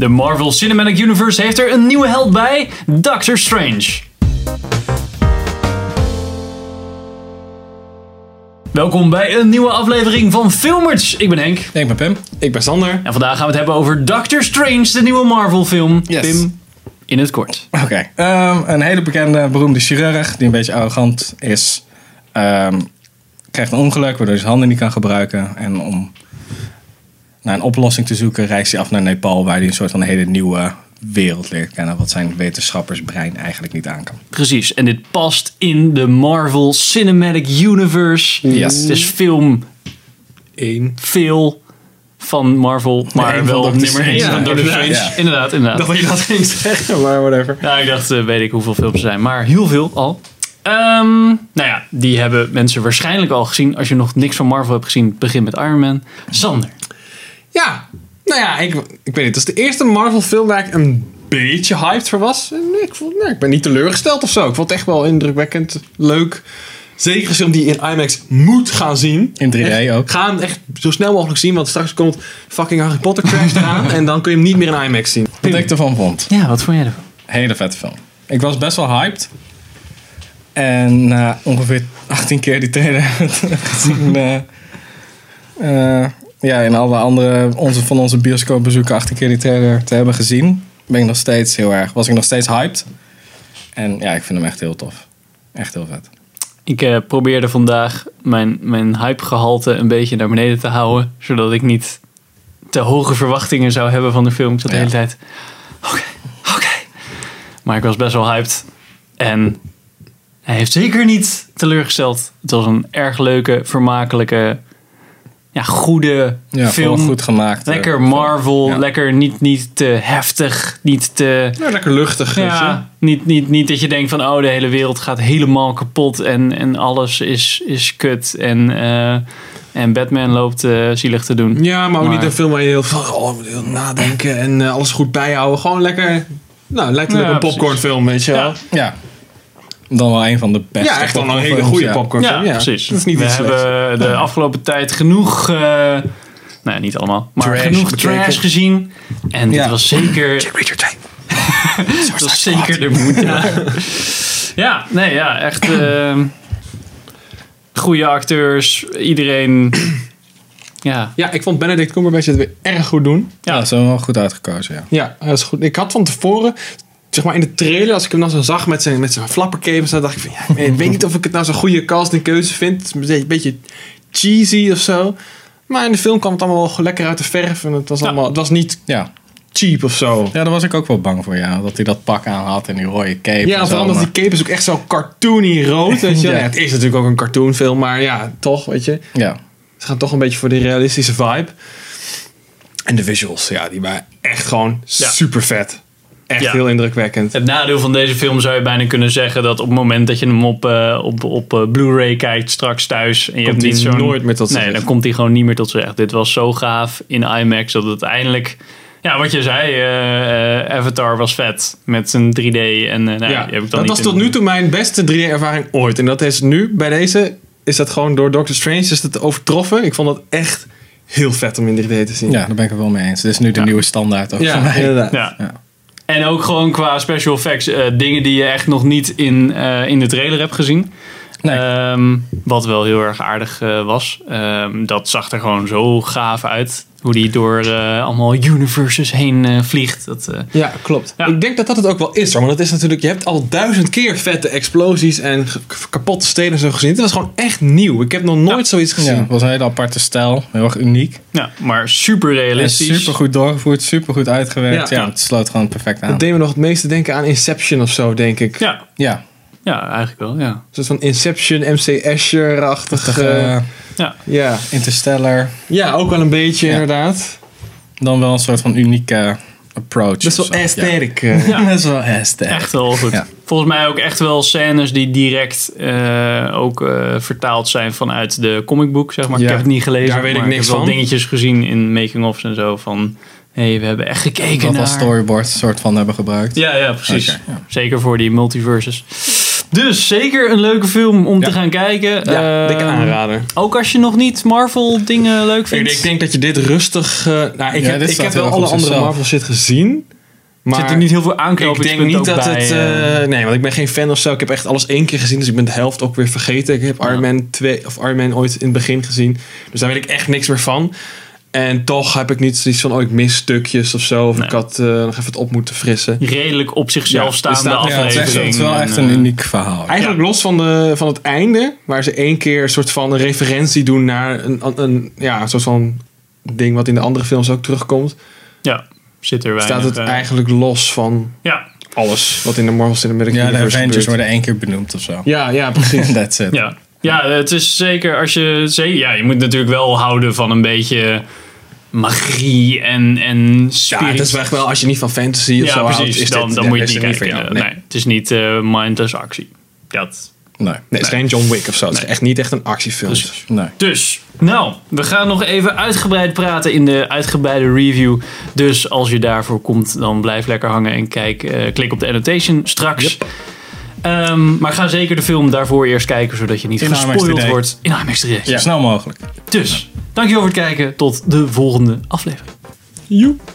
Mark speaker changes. Speaker 1: De Marvel Cinematic Universe heeft er een nieuwe held bij, Doctor Strange. Welkom bij een nieuwe aflevering van Filmers. Ik ben Henk.
Speaker 2: Ik ben Pim. Ik ben Sander.
Speaker 1: En vandaag gaan we het hebben over Doctor Strange, de nieuwe Marvel film.
Speaker 2: Yes.
Speaker 1: Pim, in het kort.
Speaker 2: Oké. Ehm, een hele bekende, beroemde chirurg die een beetje arrogant is. ehm, krijgt een ongeluk waardoor hij zijn handen niet kan gebruiken. En om naar een oplossing te zoeken reist hij af naar Nepal waar hij een soort van hele nieuwe wereld leert kennen. Wat zijn wetenschappersbrein eigenlijk niet aan kan.
Speaker 1: Precies, en dit past in de Marvel Cinematic Universe.
Speaker 2: Yes.
Speaker 1: Het is film
Speaker 3: Eén.
Speaker 1: veel van Marvel, maar
Speaker 2: één van
Speaker 1: wel
Speaker 2: Doctor
Speaker 1: nummer 1
Speaker 2: Strange.
Speaker 1: van
Speaker 3: Ja,
Speaker 1: Doctor Strange.
Speaker 3: inderdaad.
Speaker 2: Ja.
Speaker 1: Inderdaad, inderdaad.
Speaker 3: Dat wil je dat ging zeggen, maar whatever.
Speaker 1: Nou, ik dacht, eh, weet ik hoeveel films er zijn, maar heel veel al. Ehm, nou ja, die hebben mensen waarschijnlijk al gezien. Als je nog niks van Marvel hebt gezien, begin met Iron Man. Sander.
Speaker 3: Ja, nou ja, ik, ik weet niet. Het is de eerste Marvel film waar ik een beetje hyped voor was. En ik, vond, nee, ik ben niet teleurgesteld of zo. Ik vond het echt wel indrukwekkend, leuk. Zeker een film die je in IMAX moet gaan zien.
Speaker 2: In 3D
Speaker 3: Echt,
Speaker 2: ook.
Speaker 3: Ga hem echt zo snel mogelijk zien, want straks komt fucking Harry Potter Crash eraan. en dan kun je hem niet meer in IMAX zien.
Speaker 2: Wat ik ervan vond.
Speaker 1: Ja, wat vond jij ervan?
Speaker 2: Hele vette film. Ik was best wel hyped. En na ongeveer 18 keer die trailer gezien. eh, eh, ja, en alle andere onze, van onze bioscoopbezoeken 18 keer die trailer te hebben gezien. Ben ik nog steeds heel erg, was ik nog steeds hyped. En ja, ik vind hem echt heel tof. Echt heel vet.
Speaker 1: Ik eh, probeerde vandaag mijn, mijn hypegehalte een beetje naar beneden te houden. Zodat ik niet te hoge verwachtingen zou hebben van de film. Ik zat de
Speaker 2: Ja.
Speaker 1: hele tijd, oké, oké. Maar ik was best wel hyped. En hij heeft zeker niet teleurgesteld. Het was een erg leuke, vermakelijke, ja, goede
Speaker 2: Ja,
Speaker 1: film.
Speaker 2: film goed gemaakt. eh.
Speaker 1: Lekker Marvel,
Speaker 2: Ja.
Speaker 1: lekker niet, niet te heftig, niet te...
Speaker 3: Nou, lekker luchtig, weet je.
Speaker 1: Ja, niet, niet, niet dat je denkt van oh, de hele wereld gaat helemaal kapot en, en alles is, is kut en, eh, en Batman loopt eh, zielig te doen.
Speaker 3: Ja, maar ook
Speaker 1: Maar-
Speaker 3: niet een film waar je heel veel oh, moet heel nadenken en eh, alles goed bijhouden. Gewoon lekker, nou, letterlijk
Speaker 1: Ja,
Speaker 3: een popcornfilm, weet je
Speaker 1: Ja.
Speaker 3: wel.
Speaker 2: Ja. Dan wel een van de beste.
Speaker 3: Ja, echt wel een hele
Speaker 2: popcornfilms,
Speaker 3: goede
Speaker 2: ja.
Speaker 3: popcornfilm. Ja,
Speaker 1: precies.
Speaker 3: Dat is niet
Speaker 1: We
Speaker 3: iets slechts.
Speaker 1: hebben de afgelopen tijd genoeg, eh nou niet allemaal, maar
Speaker 2: Trash
Speaker 1: genoeg
Speaker 2: bekeken.
Speaker 1: trash gezien. En dit
Speaker 2: Ja.
Speaker 1: was zeker,
Speaker 3: Richard Tank.
Speaker 1: dit was zeker de moeite. Ja, nee, ja, echt eh, goede acteurs, iedereen. Ja,
Speaker 3: Ja, ik vond Benedict Cumberbatch het weer erg goed doen.
Speaker 2: Ja, ze hebben hem wel goed uitgekozen, ja.
Speaker 3: Ja, dat is goed. Ik had van tevoren, zeg maar in de trailer, als ik hem dan zo zag met zijn, met zijn flapperkevers, dan dacht ik van, ja, ik weet- ik weet niet of ik het nou zo'n goede castingkeuze vind. Het is een beetje- een beetje cheesy of zo. Maar in de film kwam het allemaal wel lekker uit de verf en het was, allemaal, het was niet
Speaker 2: Ja,
Speaker 3: cheap of zo.
Speaker 2: Ja, daar was ik ook wel bang voor, ja. Dat hij dat pak aan had en die rode cape.
Speaker 3: Ja,
Speaker 2: en zo,
Speaker 3: vooral omdat
Speaker 2: maar-
Speaker 3: die cape is ook echt zo cartoony rood. Weet je?
Speaker 2: Ja.
Speaker 3: Ja, het is natuurlijk ook een cartoonfilm, maar ja, toch, weet je.
Speaker 2: Ja,
Speaker 3: Ze gaan toch een beetje voor die realistische vibe. En de visuals, ja, die waren echt gewoon
Speaker 1: Ja.
Speaker 3: super vet. Echt
Speaker 1: Ja.
Speaker 3: heel indrukwekkend.
Speaker 1: Het nadeel van deze film zou je bijna kunnen zeggen dat op het moment dat je hem op, eh, op, op eh, Blu-ray kijkt, straks thuis. En je
Speaker 3: Komt
Speaker 1: hebt niet
Speaker 3: hij
Speaker 1: zo'n-
Speaker 3: nooit meer tot z'n
Speaker 1: Nee,
Speaker 3: recht.
Speaker 1: dan komt hij gewoon niet meer tot z'n recht. Dit was zo gaaf in IMAX dat het eindelijk. Ja, wat je zei, eh, eh, Avatar was vet met zijn 3D. En, eh, nou,
Speaker 3: ja,
Speaker 1: die heb ik dan
Speaker 3: dat
Speaker 1: niet
Speaker 3: was
Speaker 1: in-
Speaker 3: tot nu toe mijn beste 3D-ervaring ooit. En dat is nu, bij deze, is dat gewoon door Doctor Strange is dat overtroffen. Ik vond dat echt heel vet om in 3D te zien.
Speaker 2: ja, daar ben ik het wel mee eens. Dit is nu de
Speaker 1: Ja.
Speaker 2: nieuwe standaard ook voor
Speaker 3: ja
Speaker 2: mij.
Speaker 3: inderdaad.
Speaker 1: Ja.
Speaker 2: Ja.
Speaker 1: En ook gewoon qua special effects, eh, dingen die je echt nog niet in, eh, in de trailer hebt gezien.
Speaker 2: Nee.
Speaker 1: Ehm, wat wel heel erg aardig eh, was. Ehm, dat zag er gewoon zo gaaf uit. Hoe die door eh, allemaal universes heen eh, vliegt. Dat, eh,
Speaker 3: Ja, klopt.
Speaker 1: Ja.
Speaker 3: Ik denk dat dat het ook wel is hoor. Want het is natuurlijk, je hebt al duizend keer vette explosies en ge- ge- kapotte steden en zo gezien. Dit was gewoon echt nieuw. Ik heb nog nooit zoiets
Speaker 2: Ja,
Speaker 3: gezien.
Speaker 2: het was een hele aparte stijl. Heel erg uniek.
Speaker 1: ja, maar super realistisch.
Speaker 2: Super goed doorgevoerd, super goed uitgewerkt. Ja,
Speaker 3: Ja.
Speaker 2: het sloot gewoon perfect aan.
Speaker 3: Dat deed me nog het meeste denken aan Inception of zo, denk ik. Een
Speaker 1: Ja,
Speaker 2: Ja,
Speaker 1: ja, eigenlijk wel. Ja.
Speaker 3: soort van Inception, MC
Speaker 2: toch,
Speaker 3: Escher-achtig. eh,
Speaker 2: eh,
Speaker 1: Ja.
Speaker 3: ja.
Speaker 2: Interstellar.
Speaker 3: ja, ook wel een beetje
Speaker 2: Ja.
Speaker 3: inderdaad.
Speaker 2: Dan wel een soort van unieke eh, approach.
Speaker 3: Best
Speaker 2: of
Speaker 3: wel
Speaker 2: zo.
Speaker 3: aesthetic.
Speaker 2: Ja.
Speaker 3: eh.
Speaker 1: Ja.
Speaker 2: Best wel aesthetic.
Speaker 1: Echt wel goed.
Speaker 2: Ja.
Speaker 1: Volgens mij ook echt wel scènes die direct eh, ook eh, vertaald zijn vanuit de comicbook, zeg maar.
Speaker 3: Ja.
Speaker 1: Ik heb het niet gelezen,
Speaker 3: Daar weet ik
Speaker 1: maar
Speaker 3: niks
Speaker 1: heb wel
Speaker 3: van.
Speaker 1: dingetjes gezien in making-ofs en zo van... Hé, hey, we hebben echt gekeken
Speaker 2: Wat
Speaker 1: naar...
Speaker 2: als storyboard soort van hebben gebruikt.
Speaker 1: Ja, ja, precies.
Speaker 2: Oké, ja.
Speaker 1: Zeker voor die multiverses. Dus zeker een leuke film om
Speaker 3: Ja.
Speaker 1: te gaan kijken.
Speaker 3: Ja,
Speaker 1: Ehm,
Speaker 3: dikke aanrader.
Speaker 1: Ook als je nog niet Marvel dingen leuk
Speaker 3: Ik,
Speaker 1: vindt.
Speaker 3: ik denk dat je dit rustig... eh, nou, ik
Speaker 2: Ja,
Speaker 3: heb,
Speaker 2: dit
Speaker 3: ik
Speaker 2: staat
Speaker 3: heb
Speaker 2: heel erg
Speaker 3: wel alle
Speaker 2: op
Speaker 3: andere
Speaker 2: zichzelf.
Speaker 3: Marvel shit gezien. Maar
Speaker 1: zit er niet heel veel
Speaker 3: ik denk
Speaker 1: aanknopingspunten
Speaker 3: niet
Speaker 1: ook
Speaker 3: dat
Speaker 1: bij,
Speaker 3: het...
Speaker 1: eh.
Speaker 3: eh, nee, want ik ben geen fan of zo. Ik heb echt alles één keer gezien. Dus ik ben de helft ook weer vergeten. Ik heb Iron Man 2 of Iron Man ooit in het begin gezien. Dus daar weet ik echt niks meer van. En toch heb ik niet zoiets van... Oh, ik mis stukjes of zo. Of
Speaker 1: Nee.
Speaker 3: ik had eh, nog even het op moeten frissen.
Speaker 1: redelijk op
Speaker 3: Ja,
Speaker 1: zichzelf
Speaker 3: er
Speaker 1: staande
Speaker 3: staat-
Speaker 2: Ja, het is,
Speaker 1: aflevering.
Speaker 2: echt, het is wel
Speaker 1: En,
Speaker 2: echt
Speaker 1: eh,
Speaker 2: een uniek verhaal.
Speaker 3: Eigenlijk los van, de, van het einde, waar ze één keer een soort van een referentie doen naar een, een, ja, een soort van ding wat in de andere films ook terugkomt,
Speaker 1: Ja, zit er weinig.
Speaker 3: staat het
Speaker 1: eh,
Speaker 3: eigenlijk los van
Speaker 1: Ja,
Speaker 3: alles wat in de Marvel Cinematic
Speaker 2: Ja, de
Speaker 3: Universe
Speaker 2: Avengers
Speaker 3: gebeurt.
Speaker 2: worden één keer benoemd of zo.
Speaker 3: Ja, ja, precies.
Speaker 2: That's it.
Speaker 1: ja. ja, het is zeker als je... ze- Ja, je moet natuurlijk wel houden van een beetje magie en, en
Speaker 3: ja,
Speaker 1: spirit.
Speaker 3: het is echt wel, als je niet van fantasy of zo
Speaker 1: Ja,
Speaker 3: houdt,
Speaker 1: precies.
Speaker 3: is
Speaker 1: dan
Speaker 3: dit
Speaker 1: dan
Speaker 3: de
Speaker 1: moet je het
Speaker 3: beste
Speaker 1: niet
Speaker 3: niet voor
Speaker 1: kijken.
Speaker 3: jou.
Speaker 1: nee.
Speaker 3: Nee.
Speaker 1: het is niet eh, mindless actie. Dat.
Speaker 2: Nee.
Speaker 3: Nee, het is geen John Wick of zo. Het is echt niet echt een actiefilm.
Speaker 1: Precies.
Speaker 2: Nee.
Speaker 1: Dus, nou, we gaan nog even uitgebreid praten in de uitgebreide review. Dus als je daarvoor komt, dan blijf lekker hangen en kijk, eh, klik op de annotation straks. Ehm, maar ga zeker de film daarvoor eerst kijken, zodat je niet
Speaker 2: In
Speaker 1: gespoild
Speaker 2: IMAX3D.
Speaker 1: wordt in IMAX 3
Speaker 2: Zo snel mogelijk.
Speaker 1: Dus, dankjewel voor het kijken. Tot de volgende aflevering.
Speaker 3: Joep.